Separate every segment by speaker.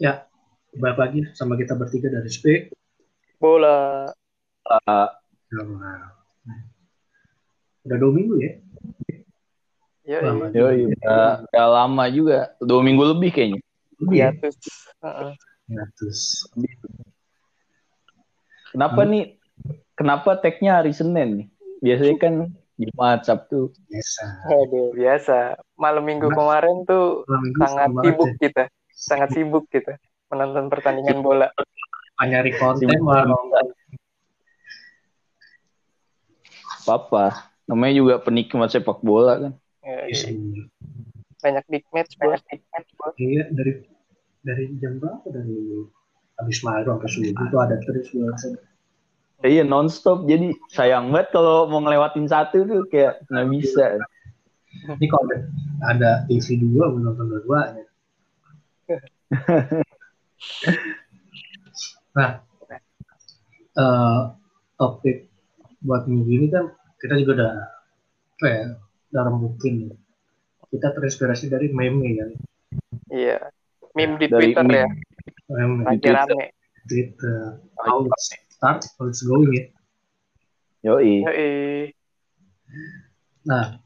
Speaker 1: Ya, balik lagi sama kita bertiga dari SP.
Speaker 2: Bola.
Speaker 3: Eh,
Speaker 1: Udah dua minggu ya?
Speaker 2: Ya,
Speaker 1: Lama juga.
Speaker 3: yoi, udah, udah lama juga, dua minggu lebih kayaknya.
Speaker 2: iya.
Speaker 1: Iya.
Speaker 2: terus. Heeh.
Speaker 3: Iya.
Speaker 1: Terus
Speaker 3: Kenapa nih? Kenapa tag-nya hari Senin nih? Biasanya kan Jumat, Sabtu.
Speaker 1: biasa.
Speaker 2: Waduh, biasa. Malam minggu
Speaker 1: Mas.
Speaker 2: kemarin tuh
Speaker 1: Dua minggu
Speaker 2: sangat
Speaker 1: sama
Speaker 2: sibuk
Speaker 1: aja.
Speaker 2: kita. Sangat sibuk kita menonton pertandingan bola.
Speaker 1: Ah, nyari konten
Speaker 3: Sibuk.
Speaker 1: malah
Speaker 3: Papa, namanya juga penikmat sepak bola kan.
Speaker 2: Ya,
Speaker 1: nongkrong sendiri.
Speaker 2: banyak big match, bos. Big match, bos.
Speaker 1: Iya dari dari jam berapa dari habis malam ke subuh itu ada terus gue langsung.
Speaker 3: Eh, Iya nonstop, jadi sayang banget kalau mau ngelewatin satu tuh kayak nggak bisa.
Speaker 1: Ini kalau ada, ada TV dua gue nonton ya. dua-duanya. nah, eh, topik buat minggu ini kan kita juga udah apa ya, udah rembukin ya. kita terinspirasi dari meme ya
Speaker 2: Iya. Meme di
Speaker 3: Dari
Speaker 2: Twitter
Speaker 3: meme.
Speaker 2: ya,
Speaker 1: meme
Speaker 2: lagi
Speaker 3: Twitter.
Speaker 2: rame.
Speaker 1: Twitter how it's start how it's going ya
Speaker 3: Yoi,
Speaker 2: Yoi.
Speaker 1: Nah,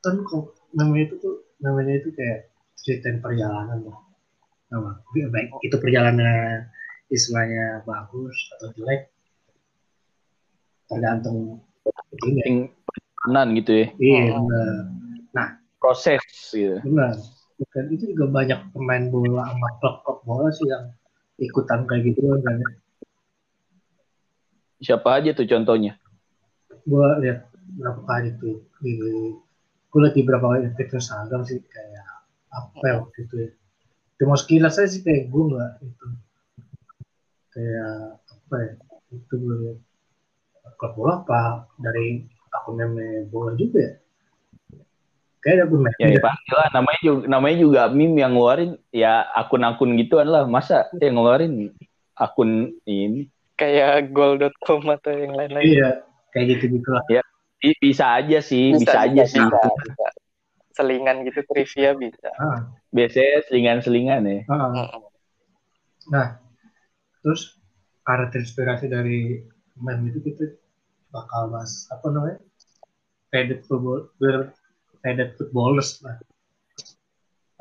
Speaker 1: kan kok namanya itu tuh namanya itu kayak ceritain perjalanan lah. Nah, baik itu perjalanan istilahnya bagus atau jelek tergantung ini. ya.
Speaker 3: penting perjalanan gitu ya,
Speaker 1: Iya, benar.
Speaker 3: proses gitu.
Speaker 1: benar. Dan itu juga banyak pemain bola sama klub-klub bola sih yang ikutan kayak gitu kan banyak.
Speaker 3: Siapa aja tuh contohnya?
Speaker 1: gue lihat berapa kali tuh di gue lihat di berapa kali di Instagram sih kayak apa ya waktu itu ya cuma sekilas saya sih kayak gue nggak itu kayak apa ya itu gue lihat. klub bola apa dari akun meme bola juga ya kayak ada akun meme
Speaker 3: Ya, ya pasti lah, namanya juga, namanya juga meme yang ngeluarin ya akun-akun gituan lah. Masa yang ngeluarin akun ini?
Speaker 2: Kayak goal.com atau yang lain lain.
Speaker 1: iya kayak gitu gitulah
Speaker 3: I- Bisa aja sih, bisa, aja sih.
Speaker 2: bisa. Selingan gitu trivia bisa.
Speaker 1: ah,
Speaker 3: Biasanya selingan-selingan ya.
Speaker 1: ah.
Speaker 2: Heeh.
Speaker 1: Nah, terus karena terinspirasi dari meme itu kita bakal bahas apa namanya? Faded football, we're faded footballers lah.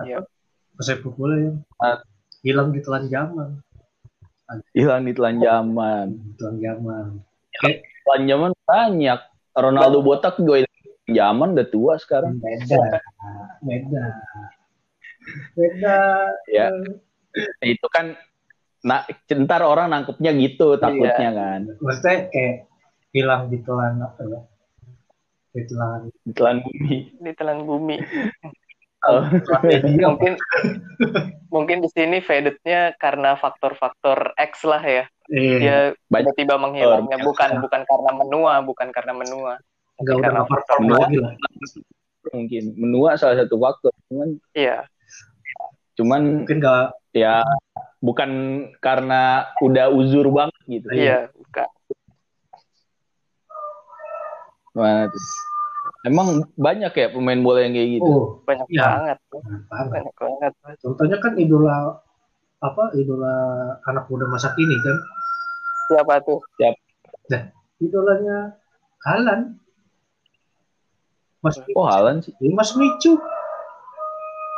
Speaker 2: Iya.
Speaker 1: Apa? Pesepak bola yang
Speaker 3: Ah.
Speaker 1: hilang di telan zaman,
Speaker 3: Hilang di telan zaman.
Speaker 1: di telan zaman.
Speaker 3: Telan zaman banyak. Ronaldo botak juga hilang di telan zaman udah tua sekarang.
Speaker 1: Beda, beda, beda.
Speaker 2: Iya.
Speaker 3: Ya. Itu kan nah ntar orang nangkepnya gitu takutnya kan.
Speaker 1: Maksudnya kayak hilang di telan apa ya? Di telan,
Speaker 3: Di telan bumi.
Speaker 2: Ditelan bumi.
Speaker 3: Oh.
Speaker 1: telan media.
Speaker 2: mungkin mungkin di sini fadednya karena faktor-faktor X lah ya.
Speaker 1: Eh,
Speaker 2: Dia
Speaker 3: Iya. Banyak. Iya.
Speaker 2: tiba-tiba menghilangnya
Speaker 1: Faktor.
Speaker 2: bukan bukan karena menua, bukan karena menua.
Speaker 1: nggak udah
Speaker 2: karena
Speaker 1: nggak perform
Speaker 3: faktor
Speaker 1: lagi lah.
Speaker 3: Mungkin menua salah satu faktor. Cuman
Speaker 2: Iya,
Speaker 3: cuman
Speaker 1: Mungkin nggak
Speaker 3: ya bukan karena udah uzur banget gitu.
Speaker 1: Iya.
Speaker 2: iya, bukan.
Speaker 3: Nah, Emang banyak ya pemain bola yang kayak gitu.
Speaker 1: Oh,
Speaker 2: Banyak
Speaker 1: Iya.
Speaker 2: banget.
Speaker 1: kenapa?
Speaker 2: Banyak banget.
Speaker 1: Contohnya kan idola apa idola anak muda masa kini kan
Speaker 2: Siapa tuh?
Speaker 1: idolanya Halan Mas
Speaker 3: Oh, Halan sih.
Speaker 1: ya, Mas Micu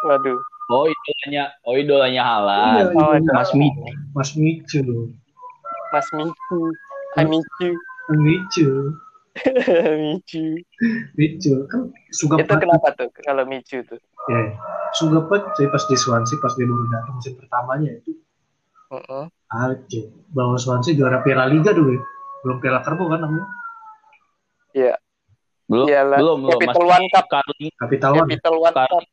Speaker 2: Waduh.
Speaker 3: Oh, idolanya, oh idolanya
Speaker 1: Iya,
Speaker 3: Halan.
Speaker 2: Oh,
Speaker 1: idolanya
Speaker 3: Ah, Mas Micu.
Speaker 1: Mas Micu
Speaker 2: Mas Michu. Hai Michu.
Speaker 1: Mas Micu
Speaker 2: Michu.
Speaker 1: Micu kan Sugap
Speaker 2: Itu kenapa tuh kalau Michu tuh?
Speaker 1: ya Sugap saya pas di Swansea pas dia baru datang musim pertamanya itu
Speaker 2: Heeh.
Speaker 1: Alce bahwa Swansea juara Piala Liga dulu ya. belum Piala Karbo kan namanya
Speaker 3: Belum,
Speaker 2: Iyalah.
Speaker 3: belum, belum.
Speaker 2: Iya Capital One Cup.
Speaker 3: Carling.
Speaker 1: Capital One
Speaker 2: Capital One Cup.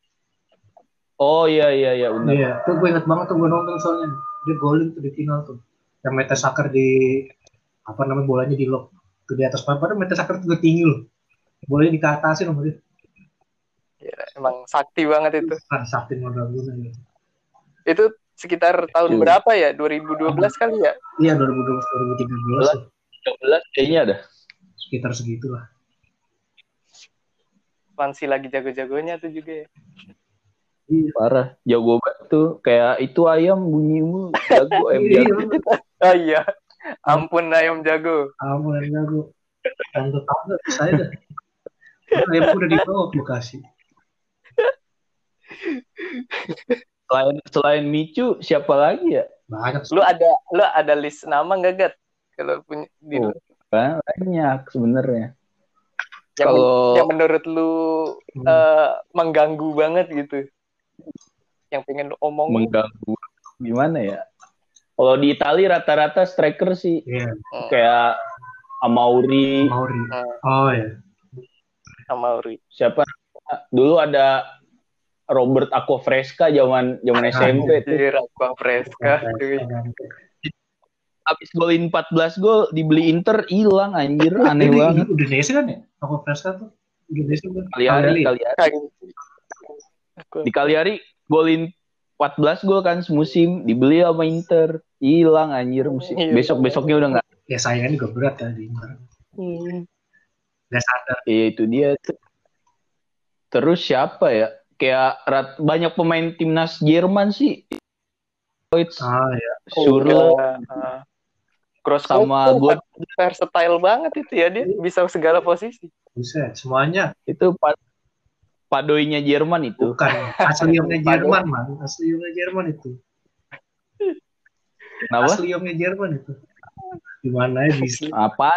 Speaker 3: Oh iya iya iya benar.
Speaker 1: Iya, tuh gue inget banget tuh gue nonton soalnya dia golin tuh di final tuh. Yang Mete Sakar di apa namanya bolanya di lock tuh di atas papan Mete Sakar tuh udah tinggi loh. Bolanya di keatasin sama dia.
Speaker 2: Gila, Emang sakti banget itu.
Speaker 1: Ah, sakti modal guna ya.
Speaker 2: Itu sekitar tahun
Speaker 3: Iya.
Speaker 2: berapa ya? 2012 kali ya?
Speaker 1: Iya 2012 2013 lah,
Speaker 2: Hmm.
Speaker 3: 13 kayaknya ada.
Speaker 1: sekitar segitulah.
Speaker 2: Swansea lagi jago-jagonya tuh juga ya.
Speaker 3: Parah. Jago banget. tuh kayak itu ayam bunyi mulu jago ayam
Speaker 1: Iya,
Speaker 3: jago
Speaker 2: Oh iya. Ampun ayam jago.
Speaker 1: kamu yang jago. Tante tante saya dah. Ayam udah dibawa ke Bekasi.
Speaker 3: selain selain Micu siapa lagi ya
Speaker 1: Banyak sih.
Speaker 2: Lu ada lu ada list nama nggak Gat? Kalau punya di
Speaker 3: Oh, banyak sebenarnya
Speaker 2: yang,
Speaker 3: kalau Hmm.
Speaker 2: yang menurut lu eh, mengganggu banget gitu. Yang pengen lu omongin.
Speaker 3: mengganggu gimana ya kalau di Itali rata-rata striker sih
Speaker 1: Iya,
Speaker 2: hmm,
Speaker 3: kayak Amauri
Speaker 1: Mauri. Oh ya.
Speaker 2: sama Uri.
Speaker 3: siapa dulu ada Robert Aquafresca zaman zaman
Speaker 2: Ah, iya.
Speaker 3: SMP tuh.
Speaker 2: Anjir, Aqua Fresca. cuy.
Speaker 3: Abis golin 14 gol dibeli Inter hilang anjir aneh
Speaker 1: Ini
Speaker 3: banget.
Speaker 1: Indonesia kan ya? Aku Fresca tuh. Indonesia kan.
Speaker 3: Kali hari kali hari. Di kali hari golin 14 gol kan semusim dibeli sama Inter hilang anjir musim
Speaker 2: Iya.
Speaker 3: besok besoknya udah nggak
Speaker 1: Ya sayangnya juga berat ya di Inter.
Speaker 2: Hmm.
Speaker 1: Gak sadar.
Speaker 3: Iya itu dia tuh. terus siapa ya kayak rat- banyak pemain timnas Jerman sih Deutsch,
Speaker 1: Ah ya.
Speaker 3: Surlo
Speaker 2: Udah, ah. Cross
Speaker 3: sama
Speaker 2: court,
Speaker 3: God
Speaker 2: versatile banget itu ya dia bisa segala posisi.
Speaker 1: Buset, semuanya
Speaker 3: itu pa- padoinya Jerman itu
Speaker 1: bukan asliumnya Jerman man, asliumnya Jerman itu.
Speaker 3: Kenapa?
Speaker 1: Asliumnya Jerman itu. Gimana ya bisa?
Speaker 3: Apa?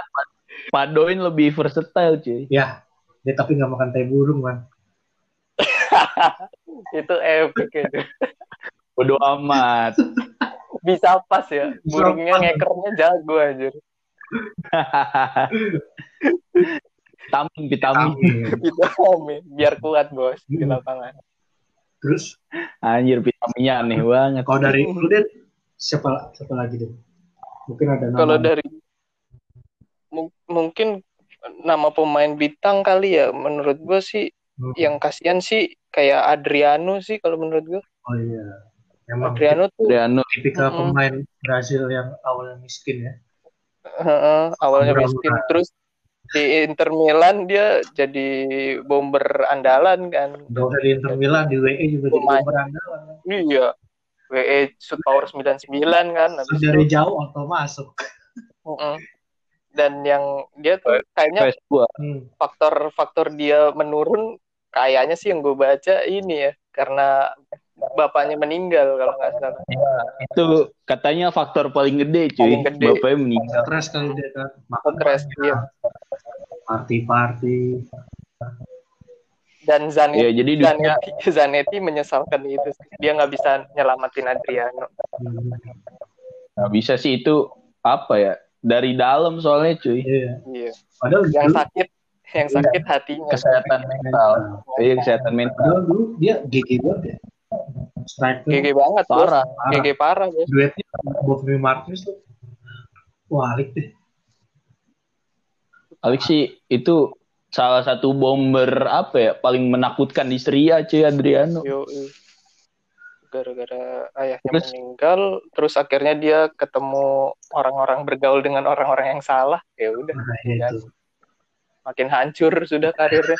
Speaker 3: Padoin lebih versatile cuy.
Speaker 1: Ya, dia tapi nggak makan teh burung man.
Speaker 2: Itu epic ya, itu.
Speaker 3: Bodo amat.
Speaker 2: Bisa pas ya.
Speaker 1: Bisa
Speaker 2: Burungnya
Speaker 1: pas.
Speaker 2: ngekernya jago anjir.
Speaker 3: vitamin, vitamin.
Speaker 1: Amin.
Speaker 2: Itu Amin. biar kuat bos di
Speaker 1: Hmm.
Speaker 2: lapangan.
Speaker 1: Terus
Speaker 3: Anjir vitaminnya aneh banget.
Speaker 1: kalau dari lu Den, siapa siapa lagi deh? Mungkin ada nama.
Speaker 2: Kalau dari mung- mungkin nama pemain bintang kali ya menurut gue sih
Speaker 1: Hmm.
Speaker 2: yang kasihan sih kayak Adriano sih kalau menurut gue
Speaker 1: Oh iya. Emang
Speaker 2: Adriano tuh
Speaker 3: Adriano.
Speaker 1: tipikal
Speaker 2: Mm-mm.
Speaker 1: pemain Brazil yang awalnya miskin ya.
Speaker 2: heeh, awalnya
Speaker 1: Murah-murah.
Speaker 2: miskin terus di Inter Milan dia jadi bomber andalan kan
Speaker 1: Gak usah di Inter Milan, di WE juga jadi
Speaker 2: Lumayan.
Speaker 1: berandalan.
Speaker 2: iya WE shoot power 99 kan habis itu.
Speaker 1: Dari jauh auto masuk.
Speaker 2: Heeh. dan yang dia tuh kayaknya
Speaker 3: Fes gua.
Speaker 1: Hmm.
Speaker 2: faktor-faktor dia menurun kayaknya sih yang gue baca ini ya karena bapaknya meninggal kalau nggak salah
Speaker 3: Itu katanya faktor paling gede cuy.
Speaker 2: Paling gede.
Speaker 3: Bapaknya meninggal.
Speaker 1: Stres kali dia kan. Makan
Speaker 2: stres iya. dia
Speaker 1: party-party.
Speaker 2: dan Zanetti
Speaker 3: Ya jadi dunia
Speaker 2: Zanetti, Zanetti menyesalkan itu sih. dia nggak bisa nyelamatin Adriano
Speaker 1: Hmm.
Speaker 3: nggak bisa sih itu apa ya? Dari dalam soalnya cuy.
Speaker 1: Iya.
Speaker 2: iya
Speaker 1: Padahal
Speaker 2: yang
Speaker 1: dulu-
Speaker 2: sakit yang sakit hatinya
Speaker 3: Kesehatan mental. Iya kesehatan mental.
Speaker 1: Padahal dulu dia GG banget ya. Striker.
Speaker 2: GG banget bos
Speaker 3: Parah.
Speaker 2: GG parah bos
Speaker 1: duetnya Bobby Martinez tuh wah alik deh
Speaker 3: Alexi itu salah satu bomber apa ya paling menakutkan di Serie A cuy Adriano.
Speaker 2: Yoi. gara-gara ayahnya
Speaker 3: Terus?
Speaker 2: meninggal terus akhirnya dia ketemu orang-orang bergaul dengan orang-orang yang salah ya udah
Speaker 1: nah ya itu
Speaker 2: makin hancur sudah karirnya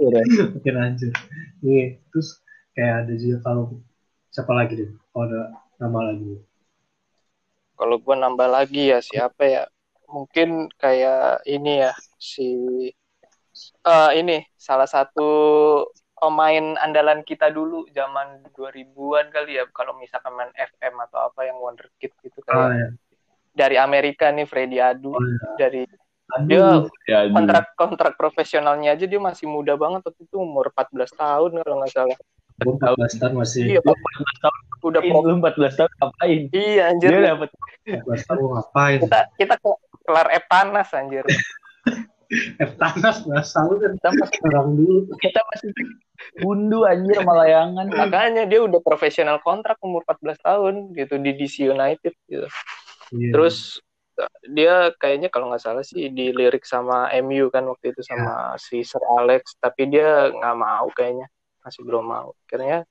Speaker 3: Iya,
Speaker 1: mungkin anjir iya terus kayak ada juga kalau siapa lagi deh kalau ada nama lagi
Speaker 2: kalau gue nambah lagi ya siapa ya mungkin kayak ini ya si eh ini salah satu pemain andalan kita dulu zaman 2000-an kali ya kalau misalkan main FM atau apa yang wonderkid gitu
Speaker 1: ah
Speaker 2: kayak
Speaker 1: ya
Speaker 2: dari Amerika nih Freddy Adu
Speaker 1: oh ya
Speaker 2: dari
Speaker 1: Aduh,
Speaker 2: dia
Speaker 3: Ya,
Speaker 2: kontrak kontrak profesionalnya aja dia masih muda banget waktu itu umur 14 tahun kalau nggak salah
Speaker 1: gua 14 tahun masih
Speaker 2: iya
Speaker 3: lu 14 tahun Iya.
Speaker 2: udah pro
Speaker 3: lu 14 tahun ngapain?
Speaker 2: iya anjir
Speaker 3: Dia dapat
Speaker 1: 14 tahun Eh, gua ngapain
Speaker 2: kita kita ke- kelar Eptanas anjir
Speaker 1: F Eh, Thanos bahasa lu kan
Speaker 2: kita masih
Speaker 1: orang dulu
Speaker 3: kita masih bundu anjir sama layangan.
Speaker 2: Makanya dia udah profesional kontrak umur 14 tahun gitu di DC United gitu.
Speaker 1: Iya.
Speaker 2: Terus dia kayaknya kalau nggak salah sih dilirik sama MU kan waktu itu sama si Sir Alex, tapi dia nggak mau kayaknya masih belum mau. Akhirnya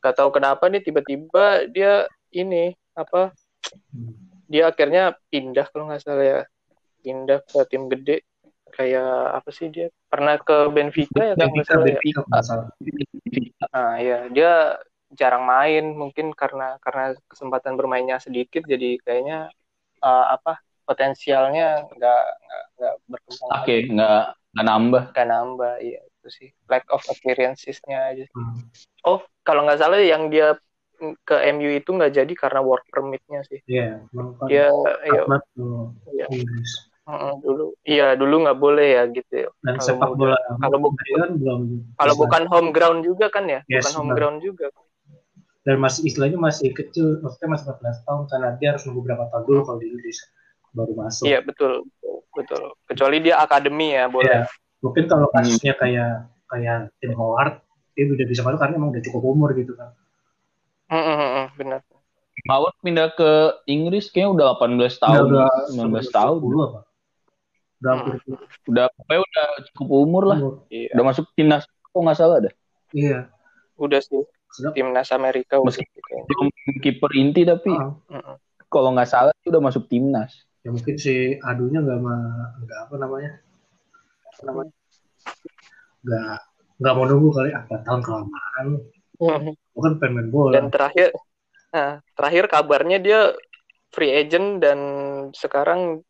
Speaker 2: nggak tahu kenapa dia tiba-tiba dia ini apa dia akhirnya pindah kalau nggak salah ya pindah ke tim gede kayak apa sih dia pernah ke Benfica ya kalau nggak
Speaker 1: Benfica
Speaker 2: salah ya?
Speaker 1: Benfica masalah
Speaker 2: Nah, ya dia jarang main mungkin karena karena kesempatan bermainnya sedikit jadi kayaknya uh, apa potensialnya nggak nggak nggak berkembang
Speaker 1: Ah.
Speaker 3: oke nggak nggak nambah
Speaker 2: nggak nambah iya itu sih lack of appearances-nya aja oh kalau nggak salah yang dia mm, ke MU itu nggak jadi karena work permit-nya sih
Speaker 1: Iya,
Speaker 2: dia ya,
Speaker 1: Ahmad tuh
Speaker 2: Iya.
Speaker 1: Inggris.
Speaker 2: mm, dulu iya dulu nggak boleh ya gitu ya.
Speaker 1: Dan
Speaker 2: Kalau
Speaker 1: sepak
Speaker 2: mau-
Speaker 1: bola
Speaker 2: kalau bukan-
Speaker 1: modern belum.
Speaker 2: kalau bukan home ground juga kan ya
Speaker 1: Iya. Yes,
Speaker 2: bukan home
Speaker 1: benar.
Speaker 2: ground juga
Speaker 1: dan masih istilahnya masih kecil, maksudnya masih 14 tahun karena dia harus nunggu berapa tahun dulu kalau di Inggris baru masuk.
Speaker 2: iya betul betul kecuali dia akademi ya boleh Hmm.
Speaker 1: Iya. Mungkin kalau kasusnya kayak kayak Tim Howard dia udah bisa masuk karena emang udah cukup umur gitu kan.
Speaker 2: Mm, mm, mm, mm, benar
Speaker 3: Howard pindah ke Inggris kayaknya udah 18 tahun
Speaker 1: udah
Speaker 3: 19 tahun
Speaker 1: 10 apa? Udah
Speaker 2: Hmm.
Speaker 1: hampir
Speaker 3: udah pokoknya udah cukup umur lah
Speaker 1: umur.
Speaker 2: iya
Speaker 3: udah masuk timnas kok nggak salah dah
Speaker 1: Iya.
Speaker 2: udah sih
Speaker 1: Sedap.
Speaker 2: timnas Amerika udah
Speaker 3: Meski-
Speaker 2: gitu kayaknya.
Speaker 3: belum kiper inti tapi
Speaker 1: Ah,
Speaker 2: Mm, mm.
Speaker 3: kalau nggak salah sih udah masuk timnas
Speaker 1: ya mungkin si adunya nggak ma- nggak apa namanya apa namanya nggak nggak mau nunggu kali apa tahun kelamaan bukan pengen main bola
Speaker 2: dan terakhir nah, terakhir kabarnya dia free agent dan sekarang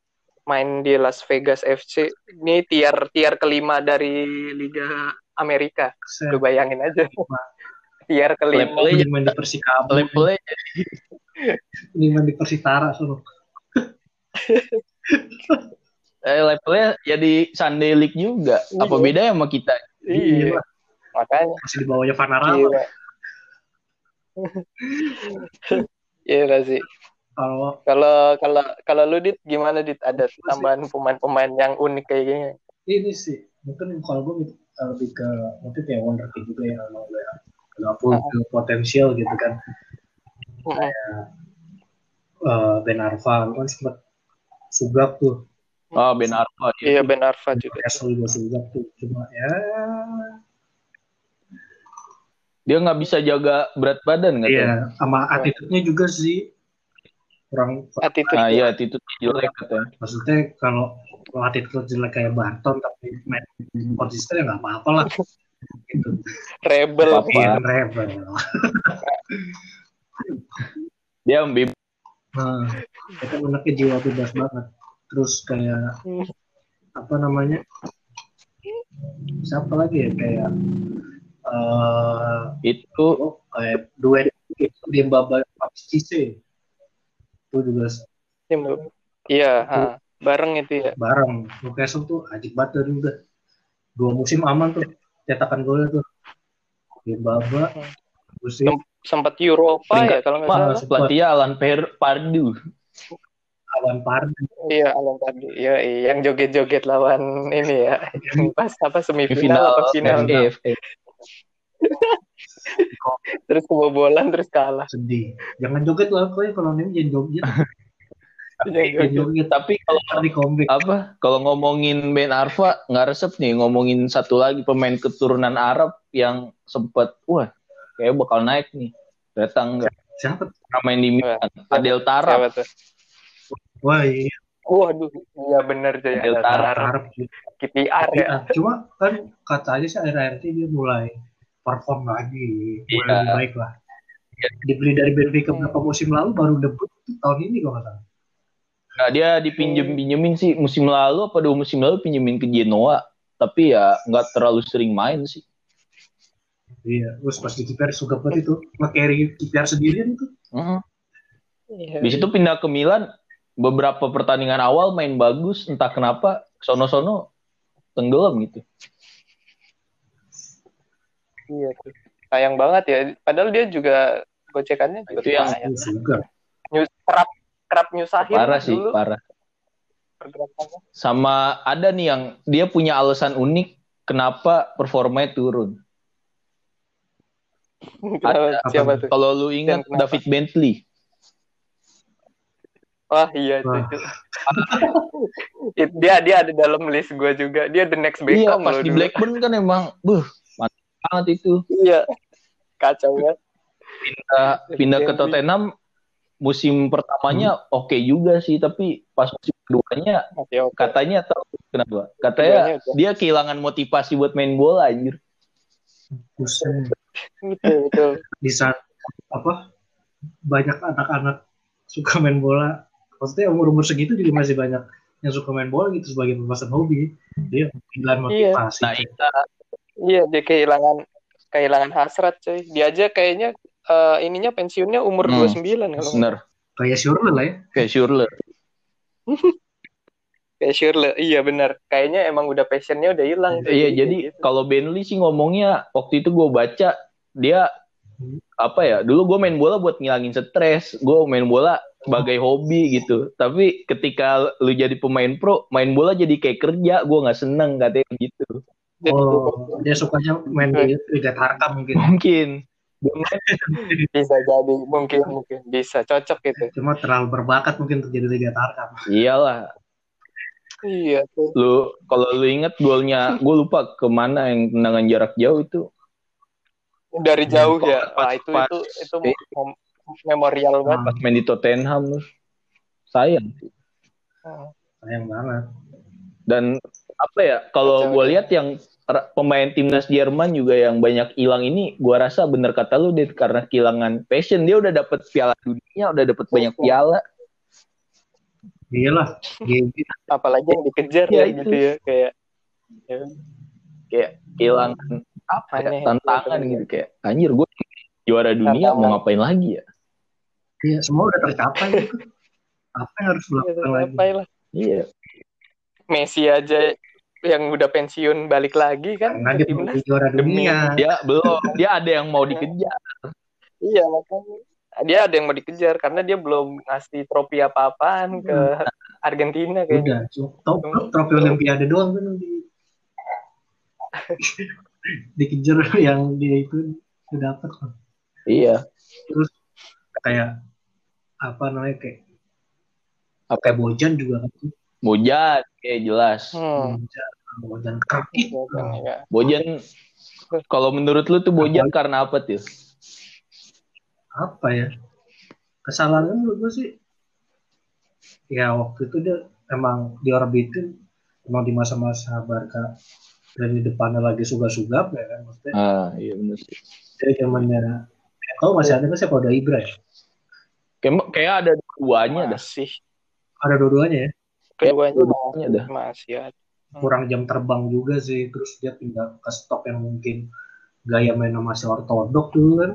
Speaker 2: main di Las Vegas FC ini tier tier kelima dari Liga Amerika
Speaker 1: saya
Speaker 2: lu bayangin aja tier kelima
Speaker 3: Levelnya
Speaker 1: mending main di Persikabo
Speaker 3: Ah. levelnya
Speaker 1: mending main di Persitara suruh
Speaker 3: eh, levelnya jadi Sunday League juga
Speaker 2: Iya.
Speaker 3: apa bedanya sama kita
Speaker 2: iya
Speaker 1: Gila.
Speaker 2: makanya iya.
Speaker 1: masih di bawahnya Vanarama
Speaker 2: gila Iya sih.
Speaker 1: kalau
Speaker 2: Kalau kalau kalau lu dit gimana dit ada tambahan pemain-pemain yang unik kayak gini?
Speaker 1: ini sih mungkin kalau gue lebih ke mungkin kayak Wonder Kid juga ya, yang emang udah udah full potensial gitu kan
Speaker 2: Mm,
Speaker 1: Eh, Ben Arfa kan sempat sugap tuh
Speaker 3: oh Ben Arfa
Speaker 2: Iya Ben Arfa juga.
Speaker 1: Newcastle juga sugap tuh cuma ya
Speaker 3: dia nggak bisa jaga berat badan nggak
Speaker 1: iya sama attitude-nya juga sih kurang
Speaker 3: tahu? nah
Speaker 2: Attitude
Speaker 3: iya itu jelek katanya
Speaker 1: maksudnya kalau kalau attitude jelek kayak Barton tapi main konsisten ya nggak apa-apa lah gitu
Speaker 2: rebel.
Speaker 3: Apa-apa.
Speaker 1: Iya, rebel
Speaker 3: dia ambil
Speaker 1: nah, itu anaknya jiwa bebas banget terus kayak
Speaker 2: Hmm.
Speaker 1: apa namanya siapa lagi ya kayak eh
Speaker 3: itu
Speaker 1: oh, kayak duet itu di babak CC itu juga
Speaker 2: Tim lu. Iya, ha. bareng itu ya.
Speaker 1: bareng Newcastle tuh ajib banget dari udah dua musim aman tuh cetakan golnya tuh di babak musim
Speaker 2: Sempat Eropa
Speaker 3: Peringkat
Speaker 2: ya kalau nggak
Speaker 1: lima.
Speaker 2: salah.
Speaker 1: Sempat.
Speaker 3: pelatihnya Alan Per Pardu
Speaker 1: awan pardi
Speaker 2: Iya, Alan tadi. Iya, iya, yang joget-joget lawan ini ya. Yang Pas apa semifinal apa final.
Speaker 3: FA.
Speaker 2: Terus kebobolan terus kalah.
Speaker 1: sedih jangan joget lah kau kalau ini jangan joget
Speaker 2: Yang
Speaker 3: Iya,
Speaker 1: jangan
Speaker 2: joget.
Speaker 1: joget
Speaker 3: tapi kalau
Speaker 1: tapi comeback
Speaker 3: apa kalau ngomongin Ben Arfa nggak resep nih ngomongin satu lagi pemain keturunan Arab yang sempet wah kayak bakal naik nih datang nggak
Speaker 1: siapa tuh?
Speaker 3: pernah main di Milan Adel Tara
Speaker 2: Siapa tuh?
Speaker 1: wah iya
Speaker 2: Waduh, iya bener tuh ya.
Speaker 3: Del Tara.
Speaker 1: Arab gitu.
Speaker 2: KPR ya.
Speaker 1: Nah, cuma kan katanya sih akhir-akhir ini dia mulai perform lagi mulai
Speaker 3: Iya.
Speaker 1: lebih baik lah dibeli dari Benfica beberapa musim lalu baru debut tahun ini kalau nggak salah
Speaker 3: Nah, dia dipinjem pinjemin sih musim lalu apa dua musim lalu pinjemin ke Genoa tapi ya nggak terlalu sering main sih
Speaker 1: iya terus pas di kiper suka banget itu nge-carry kiper sendirian itu
Speaker 3: Heeh.
Speaker 2: Iya.
Speaker 3: di situ pindah ke Milan beberapa pertandingan awal main bagus entah kenapa sono-sono tenggelam gitu
Speaker 2: Iya tuh. Sayang banget ya. Padahal dia juga gocekannya Iya juga
Speaker 3: Itu yang-
Speaker 2: lumayan.
Speaker 1: suka
Speaker 2: Nyus- kerap kerap nyusahin
Speaker 3: parah sih
Speaker 2: dulu
Speaker 3: parah
Speaker 2: pergerakannya.
Speaker 3: sama ada nih yang dia punya alasan unik kenapa performanya turun.
Speaker 2: Kenapa?
Speaker 1: Apa
Speaker 2: Siapa tuh?
Speaker 3: Kalau lu
Speaker 2: Dan
Speaker 3: ingat
Speaker 2: kenapa?
Speaker 3: David Bentley,
Speaker 2: Wah iya itu.
Speaker 1: Wah.
Speaker 2: itu. It- dia dia ada dalam list gue juga. Dia the next
Speaker 3: iya
Speaker 2: Beckham
Speaker 3: pas
Speaker 2: loh
Speaker 3: di
Speaker 2: dulu.
Speaker 3: Blackburn kan emang, buh, mantap banget itu.
Speaker 2: Iya. Kacau banget.
Speaker 3: Pindah, pindah ke
Speaker 2: Bentley. Hmm.
Speaker 3: Tottenham musim pertamanya oke juga sih, tapi pas musim keduanya
Speaker 2: Masih oke.
Speaker 3: katanya tahu kenapa? Katanya
Speaker 2: Keduanya udah.
Speaker 3: dia kehilangan motivasi buat main bola anjir.
Speaker 1: pusing
Speaker 2: Gitu, Betul betul.
Speaker 1: di saat banyak anak-anak suka main bola maksudnya umur umur segitu juga masih banyak yang suka main bola gitu sebagai pembahasan hobi dia kehilangan
Speaker 2: Iya.
Speaker 1: motivasi
Speaker 3: Nah, kita
Speaker 2: Iya, dia kehilangan kehilangan hasrat, coy. Dia aja kayaknya eh, ininya pensiunnya umur
Speaker 3: Hmm.
Speaker 2: 29 kalau nggak-
Speaker 3: bener.
Speaker 1: kayak Shurle lah ya
Speaker 3: Kayak Schürrle.
Speaker 2: kayak Shirley. Iya benar. Kayaknya emang udah passionnya udah hilang. coy.
Speaker 3: Iya, jadi kalau Bentley sih ngomongnya waktu itu gue baca dia
Speaker 1: Hmm.
Speaker 3: apa ya? Dulu gue main bola buat ngilangin stres, gue main bola sebagai hobi gitu. Tapi ketika lu jadi pemain pro, main bola jadi kayak kerja, gue nggak seneng katanya gitu.
Speaker 2: Jadi-
Speaker 1: oh dia sukanya main di Liga Tarkam mungkin
Speaker 3: Mungkin Oh.
Speaker 2: bisa jadi mungkin mungkin bisa cocok gitu.
Speaker 1: cuma terlalu berbakat mungkin untuk jadi Liga Tarkam
Speaker 3: iyalah.
Speaker 2: Iya, tuh.
Speaker 3: Lu kalau lu inget golnya, gue lupa kemana yang tendangan jarak jauh itu.
Speaker 2: dari jauh ya.
Speaker 3: Pas-
Speaker 2: Wah, itu
Speaker 3: pas-
Speaker 2: itu itu mem- memorial banget.
Speaker 1: Ah,
Speaker 3: pas main di Tottenham terus. sayang Hmm.
Speaker 1: sayang banget
Speaker 3: dan apa ya kalau
Speaker 2: Kacau,
Speaker 3: gue
Speaker 2: ya.
Speaker 3: lihat yang ra- pemain timnas Jerman juga yang banyak hilang ini gue rasa bener kata lu deh karena kehilangan passion dia udah dapet piala dunia udah dapet banyak piala
Speaker 1: iyalah GG
Speaker 2: Apalagi yang dikejar
Speaker 3: Iya,
Speaker 2: ya,
Speaker 3: itu.
Speaker 2: gitu ya kayak
Speaker 3: kehilangan apa ya,
Speaker 2: Aneh.
Speaker 3: tantangan gitu kayak anjir gue juara dunia mau
Speaker 2: Tantangan.
Speaker 3: ngapain lagi ya
Speaker 1: Iya, semua udah tercapai gitu. apa yang harus
Speaker 2: ya,
Speaker 1: dilakukan lagi
Speaker 2: apa lah.
Speaker 3: iya
Speaker 2: Messi aja yang udah pensiun balik lagi kan
Speaker 1: karena
Speaker 2: ke
Speaker 1: dia
Speaker 2: timnas.
Speaker 1: menjadi juara dunia
Speaker 3: dia belum dia ada yang mau dikejar
Speaker 2: Iya makanya dia ada yang mau dikejar karena dia belum ngasih trofi apa-apaan ke Argentina gitu. kayaknya.
Speaker 1: udah cuma top trofi olimpiade doang kan di dikejar yang dia itu udah dapat
Speaker 3: iya
Speaker 1: terus kayak apa namanya kayak
Speaker 3: Apa?
Speaker 1: kayak Bojan juga kan
Speaker 3: Bojan kayak jelas
Speaker 2: Hmm.
Speaker 1: Bojan Bojan kerkit
Speaker 2: Iya, kan, ya.
Speaker 3: Bojan kalau menurut lu tuh Bojan karena apa tuh
Speaker 1: apa ya kesalahan menurut gue sih ya waktu itu dia emang diorbitin emang di masa-masa Barca dan di depannya lagi suga-suga ya kan maksudnya
Speaker 3: ah iya bener sih
Speaker 1: dari zamannya kau
Speaker 2: Iya.
Speaker 1: masih ada nggak sih kalau ada Ibra ya
Speaker 3: Kayak, kayak ada duanya dah.
Speaker 2: masih
Speaker 1: ada dua-duanya ya
Speaker 2: Hmm. keduanya
Speaker 3: Duanya dah.
Speaker 2: masih ada.
Speaker 1: kurang jam terbang juga sih terus dia pindah ke stok yang mungkin gaya mainnya masih ortodok dulu kan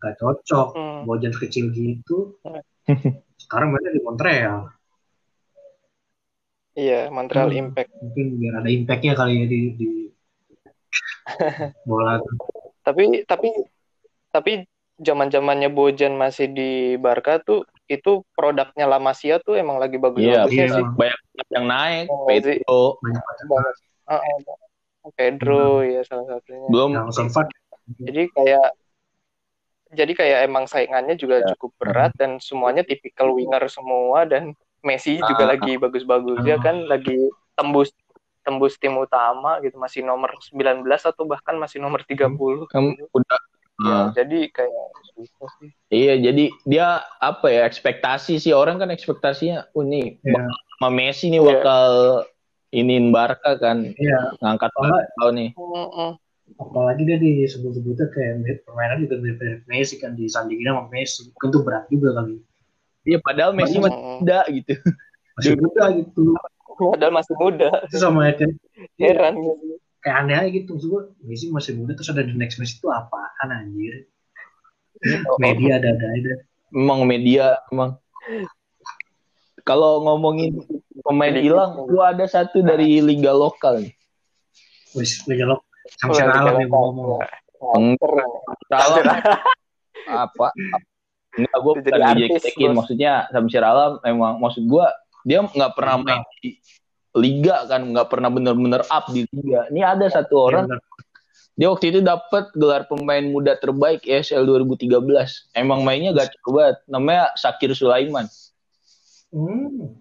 Speaker 1: gak cocok
Speaker 2: Hmm.
Speaker 1: bojan kecil gitu sekarang mainnya di Montreal
Speaker 2: Iya Montreal
Speaker 1: Hmm.
Speaker 2: Impact.
Speaker 1: mungkin biar ada impactnya kali ya di, di bola
Speaker 2: Tapi tapi tapi zaman zamannya Bojan masih di Barca tuh itu produknya La Masia tuh emang lagi bagus
Speaker 3: Iya,
Speaker 2: bagusnya
Speaker 1: iya.
Speaker 2: sih.
Speaker 3: banyak yang naik.
Speaker 2: Oh,
Speaker 3: Pedro
Speaker 1: banyak
Speaker 2: Banget. Ah, ah, ah. Pedro ya salah satunya.
Speaker 3: belum
Speaker 1: yang sempat
Speaker 3: Iya.
Speaker 2: jadi kayak jadi kayak emang saingannya juga
Speaker 3: Iya.
Speaker 2: cukup berat dan semuanya tipikal winger semua dan Messi juga
Speaker 3: Ah.
Speaker 2: lagi bagus-bagusnya
Speaker 1: Ah.
Speaker 2: kan lagi tembus tembus tim utama gitu masih nomor 19 atau bahkan masih nomor
Speaker 3: Hmm.
Speaker 2: 30
Speaker 3: em, udah.
Speaker 2: ya,
Speaker 3: Ah,
Speaker 2: jadi kayak susah sih
Speaker 3: iya, jadi dia apa ya ekspektasi sih orang kan ekspektasinya, oh nih
Speaker 2: Ya.
Speaker 1: Iya.
Speaker 3: bakal sama Messi nih
Speaker 2: Iya.
Speaker 3: bakal iniin Barca kan
Speaker 1: ya
Speaker 3: ngangkat Barca nih.
Speaker 2: Mm-mm.
Speaker 1: apalagi dia disebut-sebutnya kayak mirip- permainan juga mirip-mirip Messi kan disandingin sama Messi kan tuh berat juga kali
Speaker 3: Iya, padahal Messi masih
Speaker 2: Mm-mm.
Speaker 3: muda gitu.
Speaker 1: masih muda gitu
Speaker 2: padahal masih muda
Speaker 1: itu sama ya, kayak
Speaker 3: Iya.
Speaker 2: heran gitu.
Speaker 1: kayak aneh aja gitu maksud gue Messi masih muda terus ada the next Messi itu apaan anjir media ada ada ada
Speaker 3: Emang media emang. Kalau ngomongin pemain
Speaker 2: Sedikit.
Speaker 3: hilang, lu ada satu
Speaker 2: Nah.
Speaker 3: dari liga lokal nih.
Speaker 1: wis legelok
Speaker 2: Oh,
Speaker 1: sampai
Speaker 2: lagi
Speaker 1: alam
Speaker 2: kayak
Speaker 1: yang ngomong
Speaker 2: kayak- keren.
Speaker 3: Salah. apa enggak gue
Speaker 2: Jadi
Speaker 3: bukan
Speaker 2: artis,
Speaker 3: dijek-jekin
Speaker 2: bos.
Speaker 3: maksudnya Samsir Alam emang maksud gue dia nggak pernah
Speaker 2: Iya.
Speaker 3: main di liga kan nggak pernah bener-bener up di liga ini ada
Speaker 2: Iya.
Speaker 3: satu orang
Speaker 1: Bener.
Speaker 3: dia waktu itu dapat gelar pemain muda terbaik E ESL 2013 emang mainnya gacor banget namanya Sakir Sulaiman
Speaker 1: Hmm.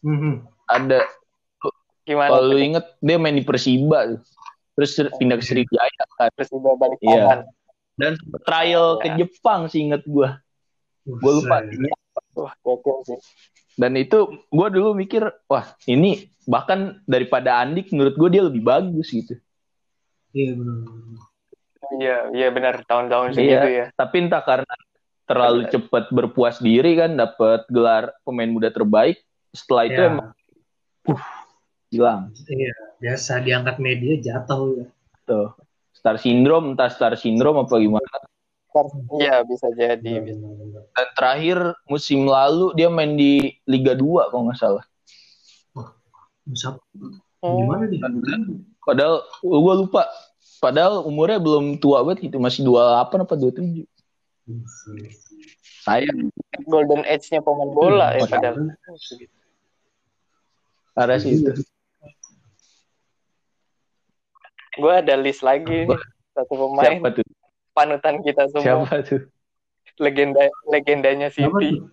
Speaker 1: Mhm.
Speaker 3: ada
Speaker 2: gimana
Speaker 3: kalau lu inget dia main di Persiba tuh. terus pindah
Speaker 2: Oh.
Speaker 3: ke Sriwijaya kan
Speaker 2: terus tiba balik
Speaker 3: Iya.
Speaker 2: papan
Speaker 3: dan sempet trial ke
Speaker 2: Iya.
Speaker 3: Jepang sih inget gue gue lupa
Speaker 1: Buset.
Speaker 3: timnya
Speaker 2: wah gokil sih
Speaker 3: Dan itu gue dulu mikir, wah ini bahkan daripada Andik menurut gue dia lebih bagus gitu.
Speaker 1: Iya benar.
Speaker 2: iya iya benar tahun-tahun
Speaker 3: Iya.
Speaker 2: segitu ya
Speaker 3: Tapi entah karena terlalu
Speaker 2: Bener.
Speaker 3: cepet berpuas diri kan dapat gelar pemain muda terbaik setelah itu
Speaker 1: Ya,
Speaker 3: emang hilang
Speaker 1: iya, biasa diangkat media jatuh ya.
Speaker 3: tuh gitu. star syndrome entah star syndrome apa gimana
Speaker 2: Iya bisa jadi. bisa.
Speaker 1: Bener-bener.
Speaker 3: dan terakhir musim lalu dia main di Liga 2 kalau nggak salah
Speaker 1: Musab,
Speaker 2: Hmm.
Speaker 1: gimana
Speaker 3: Iya.
Speaker 1: nih?
Speaker 3: padahal gue lupa padahal umurnya belum tua banget gitu masih 28 apa 27 sayang
Speaker 2: Golden age-nya pemain bola ya
Speaker 3: Hmm,
Speaker 2: padahal.
Speaker 3: parah sih itu
Speaker 2: Gue ada list lagi nih satu pemain
Speaker 3: siapa tuh
Speaker 2: panutan kita semua
Speaker 3: siapa tuh
Speaker 2: legenda legendanya
Speaker 1: Apa
Speaker 2: City
Speaker 1: tuh?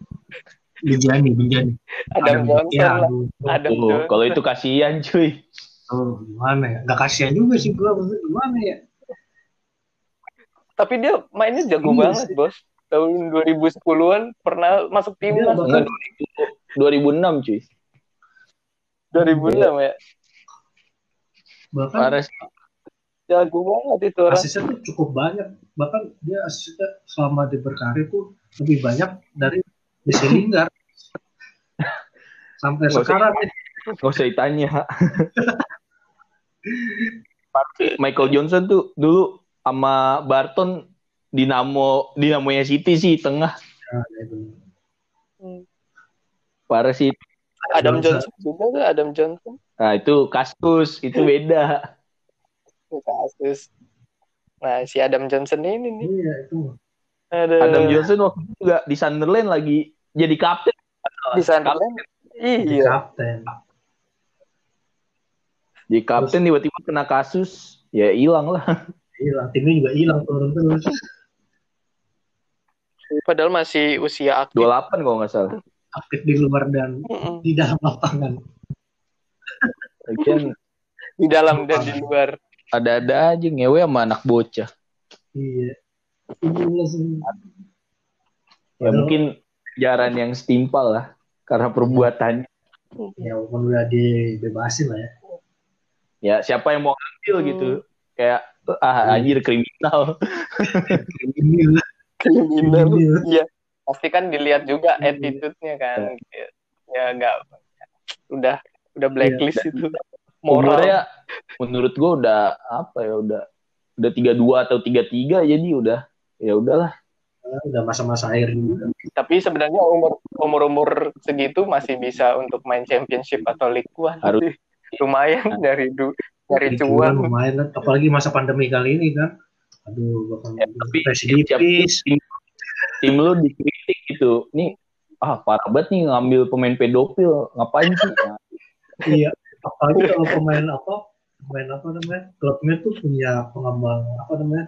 Speaker 1: Bijani, Bijani.
Speaker 2: Adam Johnson
Speaker 1: ya,
Speaker 2: lah.
Speaker 1: aduh.
Speaker 2: Adam
Speaker 3: Iya. Oh,
Speaker 2: Johnson.
Speaker 3: kalau itu kasihan cuy
Speaker 1: Oh, gimana ya? Gak kasihan juga sih gua maksudnya gimana ya?
Speaker 2: Tapi dia mainnya jago
Speaker 1: Iya
Speaker 2: banget, Bos. Tahun 2010-an pernah masuk
Speaker 1: Dia
Speaker 3: Iya,
Speaker 2: timnas
Speaker 1: bahkan
Speaker 3: 2006 cuy
Speaker 2: 2006 ya.
Speaker 1: bahkan
Speaker 3: parah sih.
Speaker 2: Jago banget itu orang.
Speaker 1: asisnya tuh cukup banyak. Bahkan dia asisnya selama dia berkarir tuh lebih banyak dari Jesse Lingard. Sampai
Speaker 3: Gak usah.
Speaker 1: sekarang nih.
Speaker 3: Gak usah ditanya. Michael Johnson tuh dulu sama Barton Dinamo Dinamonya City sih tengah
Speaker 1: Nah, itu.
Speaker 3: parah sih.
Speaker 2: Hmm. Adam
Speaker 1: Johnson.
Speaker 2: Johnson juga tuh, Adam Johnson.
Speaker 3: Nah itu kasus itu beda.
Speaker 2: Tuh, Kasus. Nah, si Adam Johnson ini nih.
Speaker 1: Iya, itu.
Speaker 2: Aduh.
Speaker 3: Adam Johnson waktu itu juga di Sunderland lagi jadi kapten.
Speaker 2: di Sunderland.
Speaker 1: Jadi
Speaker 2: Iya,
Speaker 1: kapten.
Speaker 3: Jadi kapten tiba-tiba kena kasus ya hilang lah.
Speaker 1: Hilang, timnya juga hilang turun terus.
Speaker 2: padahal masih usia aktif.
Speaker 3: 28 kalau nggak salah.
Speaker 1: Aktif di luar dan
Speaker 2: Mm-mm.
Speaker 1: di dalam lapangan.
Speaker 3: Lagian
Speaker 2: Di dalam dan di luar.
Speaker 3: ada-ada aja ngewe sama anak bocah.
Speaker 1: Iya. Ini langsung
Speaker 3: Ya mungkin jaran yang setimpal lah karena perbuatannya.
Speaker 1: ya walaupun udah dibebasin lah ya.
Speaker 3: ya siapa yang mau ngambil
Speaker 2: Hmm.
Speaker 3: gitu kayak ah anjir kriminal
Speaker 1: Ini lah,
Speaker 2: Kriminal.
Speaker 1: ini lah.
Speaker 2: Iya. Pasti kan dilihat juga
Speaker 1: Iya.
Speaker 2: attitude-nya kan. Ya enggak udah udah blacklist itu. Moral.
Speaker 3: umurnya menurut gua udah apa ya udah udah tiga dua atau tiga tiga jadi udah ya udahlah
Speaker 1: Udah masa-masa air juga.
Speaker 2: Tapi sebenarnya umur umur umur segitu masih bisa untuk main championship atau League One.
Speaker 3: Harus.
Speaker 2: Lumayan dari du dari
Speaker 1: Ini
Speaker 2: cuan.
Speaker 1: Iya, lumayan lah. apalagi masa pandemi kali ini kan. Aduh, bakal
Speaker 3: Ya, tapi siap-
Speaker 1: residivis.
Speaker 3: tim lu dikritik gitu nih ah parah banget nih ngambil pemain pedofil ngapain sih Nah,
Speaker 1: Iya, apalagi kalau pemain apa? Pemain apa namanya? Klubnya tuh punya pengembang apa namanya?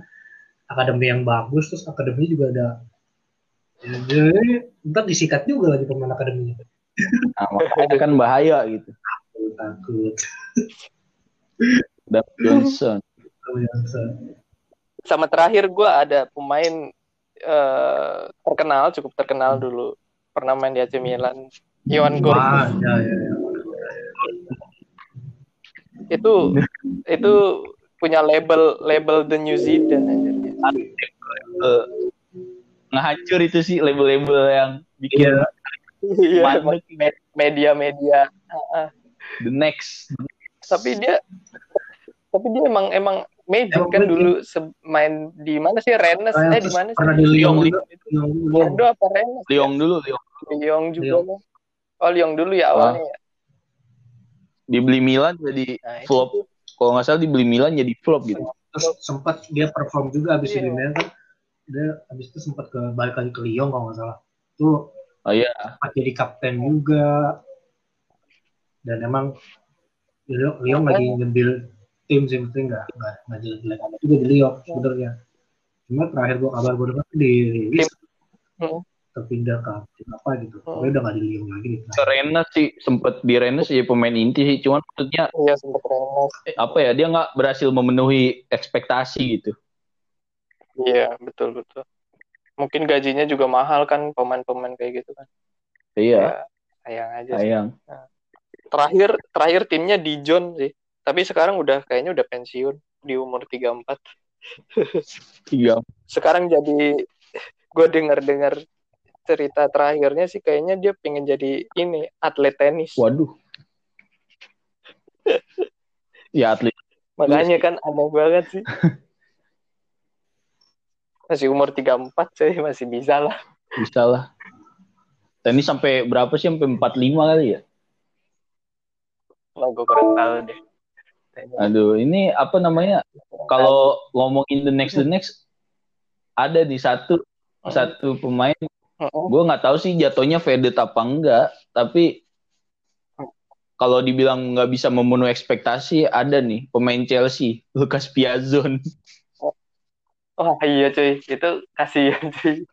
Speaker 1: Akademi yang bagus terus akademi juga ada Ya, jadi ntar disikat juga lagi pemain akademinya.
Speaker 3: nah makanya kan bahaya gitu
Speaker 1: Takut, takut.
Speaker 3: dan Johnson
Speaker 1: Kalau yang ya, se-
Speaker 2: Sama terakhir gua ada pemain eh, terkenal cukup terkenal dulu. Pernah main di AC Milan. Iwan Gor
Speaker 1: Wah, ya, ya, ya.
Speaker 2: itu itu punya label label the New Zealand anjir.
Speaker 3: Eh, ngehancur itu sih label-label yang bikin
Speaker 1: Iya,
Speaker 2: Iya,
Speaker 3: mandek
Speaker 2: me- media-media. Ah, ah.
Speaker 3: the next
Speaker 2: Tapi dia tapi dia emang emang Magic
Speaker 1: Emang
Speaker 2: kan
Speaker 1: Magic.
Speaker 2: dulu se- main di mana sih Rennes
Speaker 1: Rennes,
Speaker 2: eh di mana sih?
Speaker 1: pernah di Lyon
Speaker 2: Lyon.
Speaker 1: juga. yang
Speaker 2: Bordeaux apa Rennes?
Speaker 3: Liong dulu Liong
Speaker 2: Lyon juga kan. Oh Lyon dulu ya awalnya. ya.
Speaker 3: dibeli Milan jadi
Speaker 2: Nah, itu
Speaker 3: flop
Speaker 2: tuh.
Speaker 3: kalau nggak salah dibeli Milan jadi flop gitu.
Speaker 1: terus sempat dia perform juga abis
Speaker 2: Iya.
Speaker 1: di Milan kan dia abis itu sempat ke balik lagi ke Lyon kalau nggak salah tuh
Speaker 3: Oh iya,
Speaker 1: sempat jadi kapten juga dan emang Lyon, Lyon lagi
Speaker 2: Iya.
Speaker 1: ngambil tim sih mesti nggak nggak nggak jelek-jelek amat juga di Lyon sebenarnya cuma terakhir gua kabar gua dengar tuh dirilis
Speaker 2: Hmm.
Speaker 1: terpindah ke tim apa gitu
Speaker 2: Hmm.
Speaker 1: tapi udah nggak di Lyon lagi di
Speaker 3: ke Rennes sih sempet di Rennes jadi pemain inti sih, cuman maksudnya
Speaker 2: Iya sempat Rennes.
Speaker 3: apa ya dia nggak berhasil memenuhi ekspektasi gitu.
Speaker 2: Iya, betul betul. Mungkin gajinya juga mahal kan pemain-pemain kayak gitu kan.
Speaker 3: Iya,
Speaker 2: Ya, sayang aja sih.
Speaker 3: sayang.
Speaker 2: terakhir terakhir timnya Dijon sih tapi sekarang udah kayaknya udah pensiun di umur 34
Speaker 3: Tiga.
Speaker 2: sekarang jadi gue denger dengar cerita terakhirnya sih kayaknya dia pengen jadi ini atlet tenis
Speaker 3: Waduh. ya atlet
Speaker 2: makanya kan aneh banget sih masih umur 34 saya masih bisa lah
Speaker 3: bisa lah. Tenis sampai berapa sih? Sampai 45 kali ya?
Speaker 2: Wah, gue kurang tahu deh
Speaker 3: Aduh, ini apa namanya? Kalau ngomongin the next the next ada di satu satu pemain
Speaker 2: Mm-mm.
Speaker 3: gue nggak tahu sih jatuhnya faded apa enggak tapi kalau dibilang nggak bisa memenuhi ekspektasi ada nih pemain Chelsea Lucas Piazon
Speaker 2: wah iya cuy itu kasihan cuy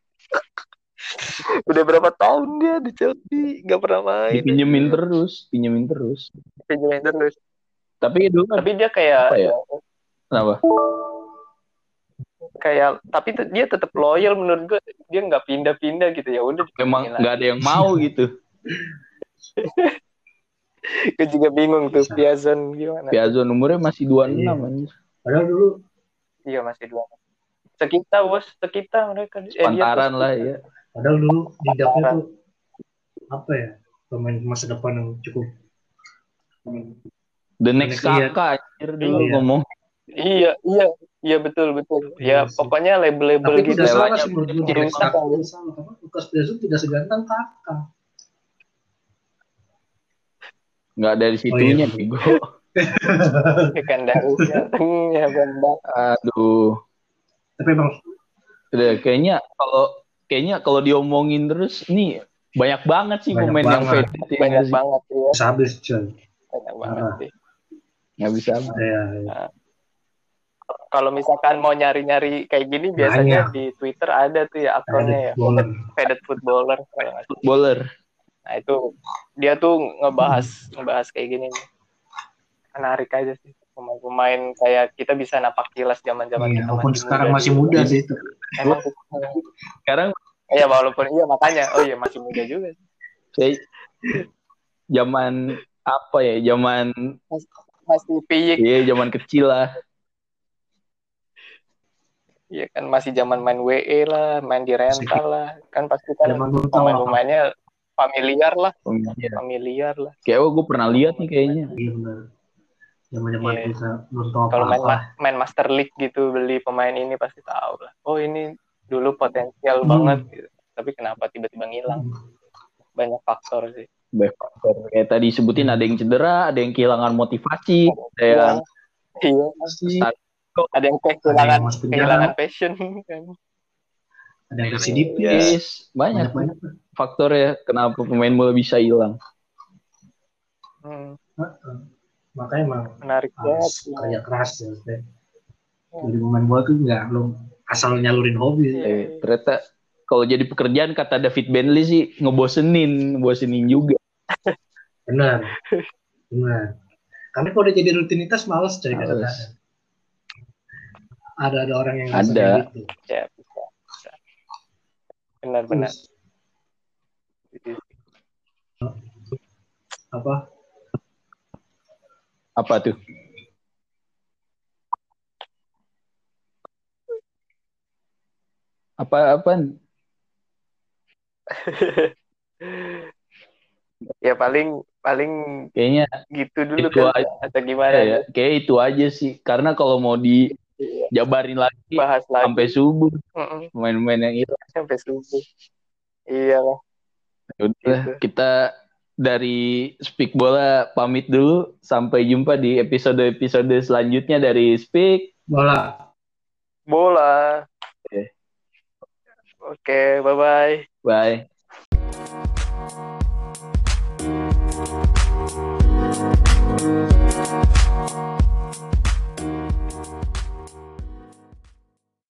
Speaker 2: udah berapa tahun dia di Chelsea nggak pernah main
Speaker 3: dipinjemin terus pinjemin terus
Speaker 2: Dipinjemin terus
Speaker 3: tapi dulu
Speaker 2: tapi dia kayak
Speaker 3: Apa ya? kenapa
Speaker 2: kayak tapi te- dia tetap loyal menurut gue dia nggak pindah-pindah gitu ya udah
Speaker 3: emang
Speaker 2: dipinjemin
Speaker 3: nggak ada yang mau gitu
Speaker 2: lagi. gue juga bingung tuh Piazon gimana
Speaker 3: Piazon umurnya masih 26
Speaker 1: Iya.
Speaker 3: anjir
Speaker 1: Padahal dulu
Speaker 2: iya masih dua sekita bos sekita mereka Eh, dia tuh
Speaker 3: pantaran lah
Speaker 2: sekita.
Speaker 3: ya
Speaker 1: padahal dulu didapnya tuh apa ya pemain masa depan yang cukup
Speaker 3: the next
Speaker 1: Iya.
Speaker 3: kakak anjir dulu
Speaker 1: Iya.
Speaker 3: ngomong
Speaker 2: iya iya iya betul betul
Speaker 1: Iya
Speaker 2: ya
Speaker 1: sih.
Speaker 2: pokoknya label-label
Speaker 1: tapi
Speaker 2: gitu
Speaker 1: tidak salah
Speaker 3: lewatnya
Speaker 1: sih menurut gue
Speaker 2: jadi
Speaker 1: Tidak salah,
Speaker 2: kakak.
Speaker 1: tidak salah karena Lukas Piazon tidak segantang kakak
Speaker 3: nggak
Speaker 1: Oh,
Speaker 3: dari
Speaker 1: iya.
Speaker 3: situnya bego.
Speaker 2: kan Iya, dari datangnya bamba
Speaker 3: Iya aduh
Speaker 1: tapi emang
Speaker 3: Udah, kayaknya kalau kayaknya kalau diomongin terus nih banyak banget sih
Speaker 1: Banyak
Speaker 3: pemain yang
Speaker 1: banget.
Speaker 3: faded ya nggak
Speaker 2: banyak banget
Speaker 3: sih? Ah.
Speaker 2: ya
Speaker 1: habis coy
Speaker 2: banyak banget sih
Speaker 3: nggak bisa
Speaker 1: ya, ya.
Speaker 2: kalau misalkan mau nyari-nyari kayak gini biasanya di Twitter ada tuh ya akunnya ya
Speaker 1: ada bola Iya,
Speaker 2: faded footballer kalau nggak salah.
Speaker 3: bowler
Speaker 2: nah itu dia tuh ngebahas ngebahas kayak gini nih. menarik aja sih pemain-pemain kayak kita bisa napak kilas zaman-zaman
Speaker 1: Iya,
Speaker 2: kita
Speaker 1: walaupun sekarang masih
Speaker 2: juga.
Speaker 1: muda sih itu
Speaker 2: emang
Speaker 3: sekarang
Speaker 2: iya walaupun iya makanya oh iya masih muda juga
Speaker 3: saya zaman apa ya zaman
Speaker 2: masih piyik
Speaker 3: iya zaman kecil lah
Speaker 2: Iya kan masih zaman main WE lah, main di rental lah, kan pasti kan
Speaker 1: zaman dulu tahu lah
Speaker 2: pemain-pemainnya familiar lah,
Speaker 3: pemainnya.
Speaker 2: Iya. familiar lah.
Speaker 3: kayak oh, gue pernah lihat nih kayaknya
Speaker 1: iya benar zaman zaman
Speaker 2: ya. Iya.
Speaker 1: kita belum tahu apa
Speaker 2: Kalau main
Speaker 1: apa
Speaker 2: ma- main Master League gitu beli pemain ini pasti tahu lah. Oh ini dulu potensial banget,
Speaker 1: Hmm.
Speaker 2: gitu. tapi kenapa tiba-tiba ngilang? Banyak faktor sih.
Speaker 3: Banyak faktor. kayak tadi sebutin ada yang cedera ada yang kehilangan motivasi ada yang
Speaker 2: Iya, ada yang
Speaker 1: ada
Speaker 2: kehilangan
Speaker 1: yang masuk penjara
Speaker 2: kehilangan passion kan.
Speaker 1: ada yang residipis
Speaker 2: Iya.
Speaker 3: yes, banyak
Speaker 1: Iya. banyak banyak
Speaker 3: faktor ya kenapa pemain bola bisa hilang
Speaker 2: Hmm,
Speaker 1: Heeh. makanya emang
Speaker 2: menarik
Speaker 1: Iya.
Speaker 2: banget.
Speaker 1: harus kerja keras ya maksudnya. jadi pemain bola tuh nggak lo asal nyalurin hobi sih.
Speaker 2: Iya.
Speaker 3: Eh, ternyata kalau jadi pekerjaan kata David Bentley sih ngebosenin, ngebosenin juga.
Speaker 1: benar benar karena kalau udah jadi rutinitas males coy
Speaker 3: Males.
Speaker 1: kadang-kadang. ada ada orang yang
Speaker 3: Ada.
Speaker 1: kayak gitu
Speaker 2: Ya, bisa, bisa. Benar-benar.
Speaker 1: Terus, apa
Speaker 3: Apa tuh? Apa apa?
Speaker 2: Ya paling paling
Speaker 3: Kayaknya
Speaker 2: gitu dulu
Speaker 3: Itu
Speaker 2: kan
Speaker 3: aja.
Speaker 2: atau gimana gitu
Speaker 3: ya, kayak itu aja sih. Karena kalau mau dijabarin lagi
Speaker 2: ya. bahas lagi
Speaker 3: sampai subuh
Speaker 2: Mm-mm,
Speaker 3: pemain-pemain yang hilang.
Speaker 2: sampai subuh iya lah
Speaker 3: Ya udah,
Speaker 2: Gitu.
Speaker 3: kita dari Speak Bola pamit dulu. Sampai jumpa di episode-episode selanjutnya dari Speak.
Speaker 1: bola
Speaker 2: bola
Speaker 3: Oke.
Speaker 2: oke bye bye
Speaker 3: Bye.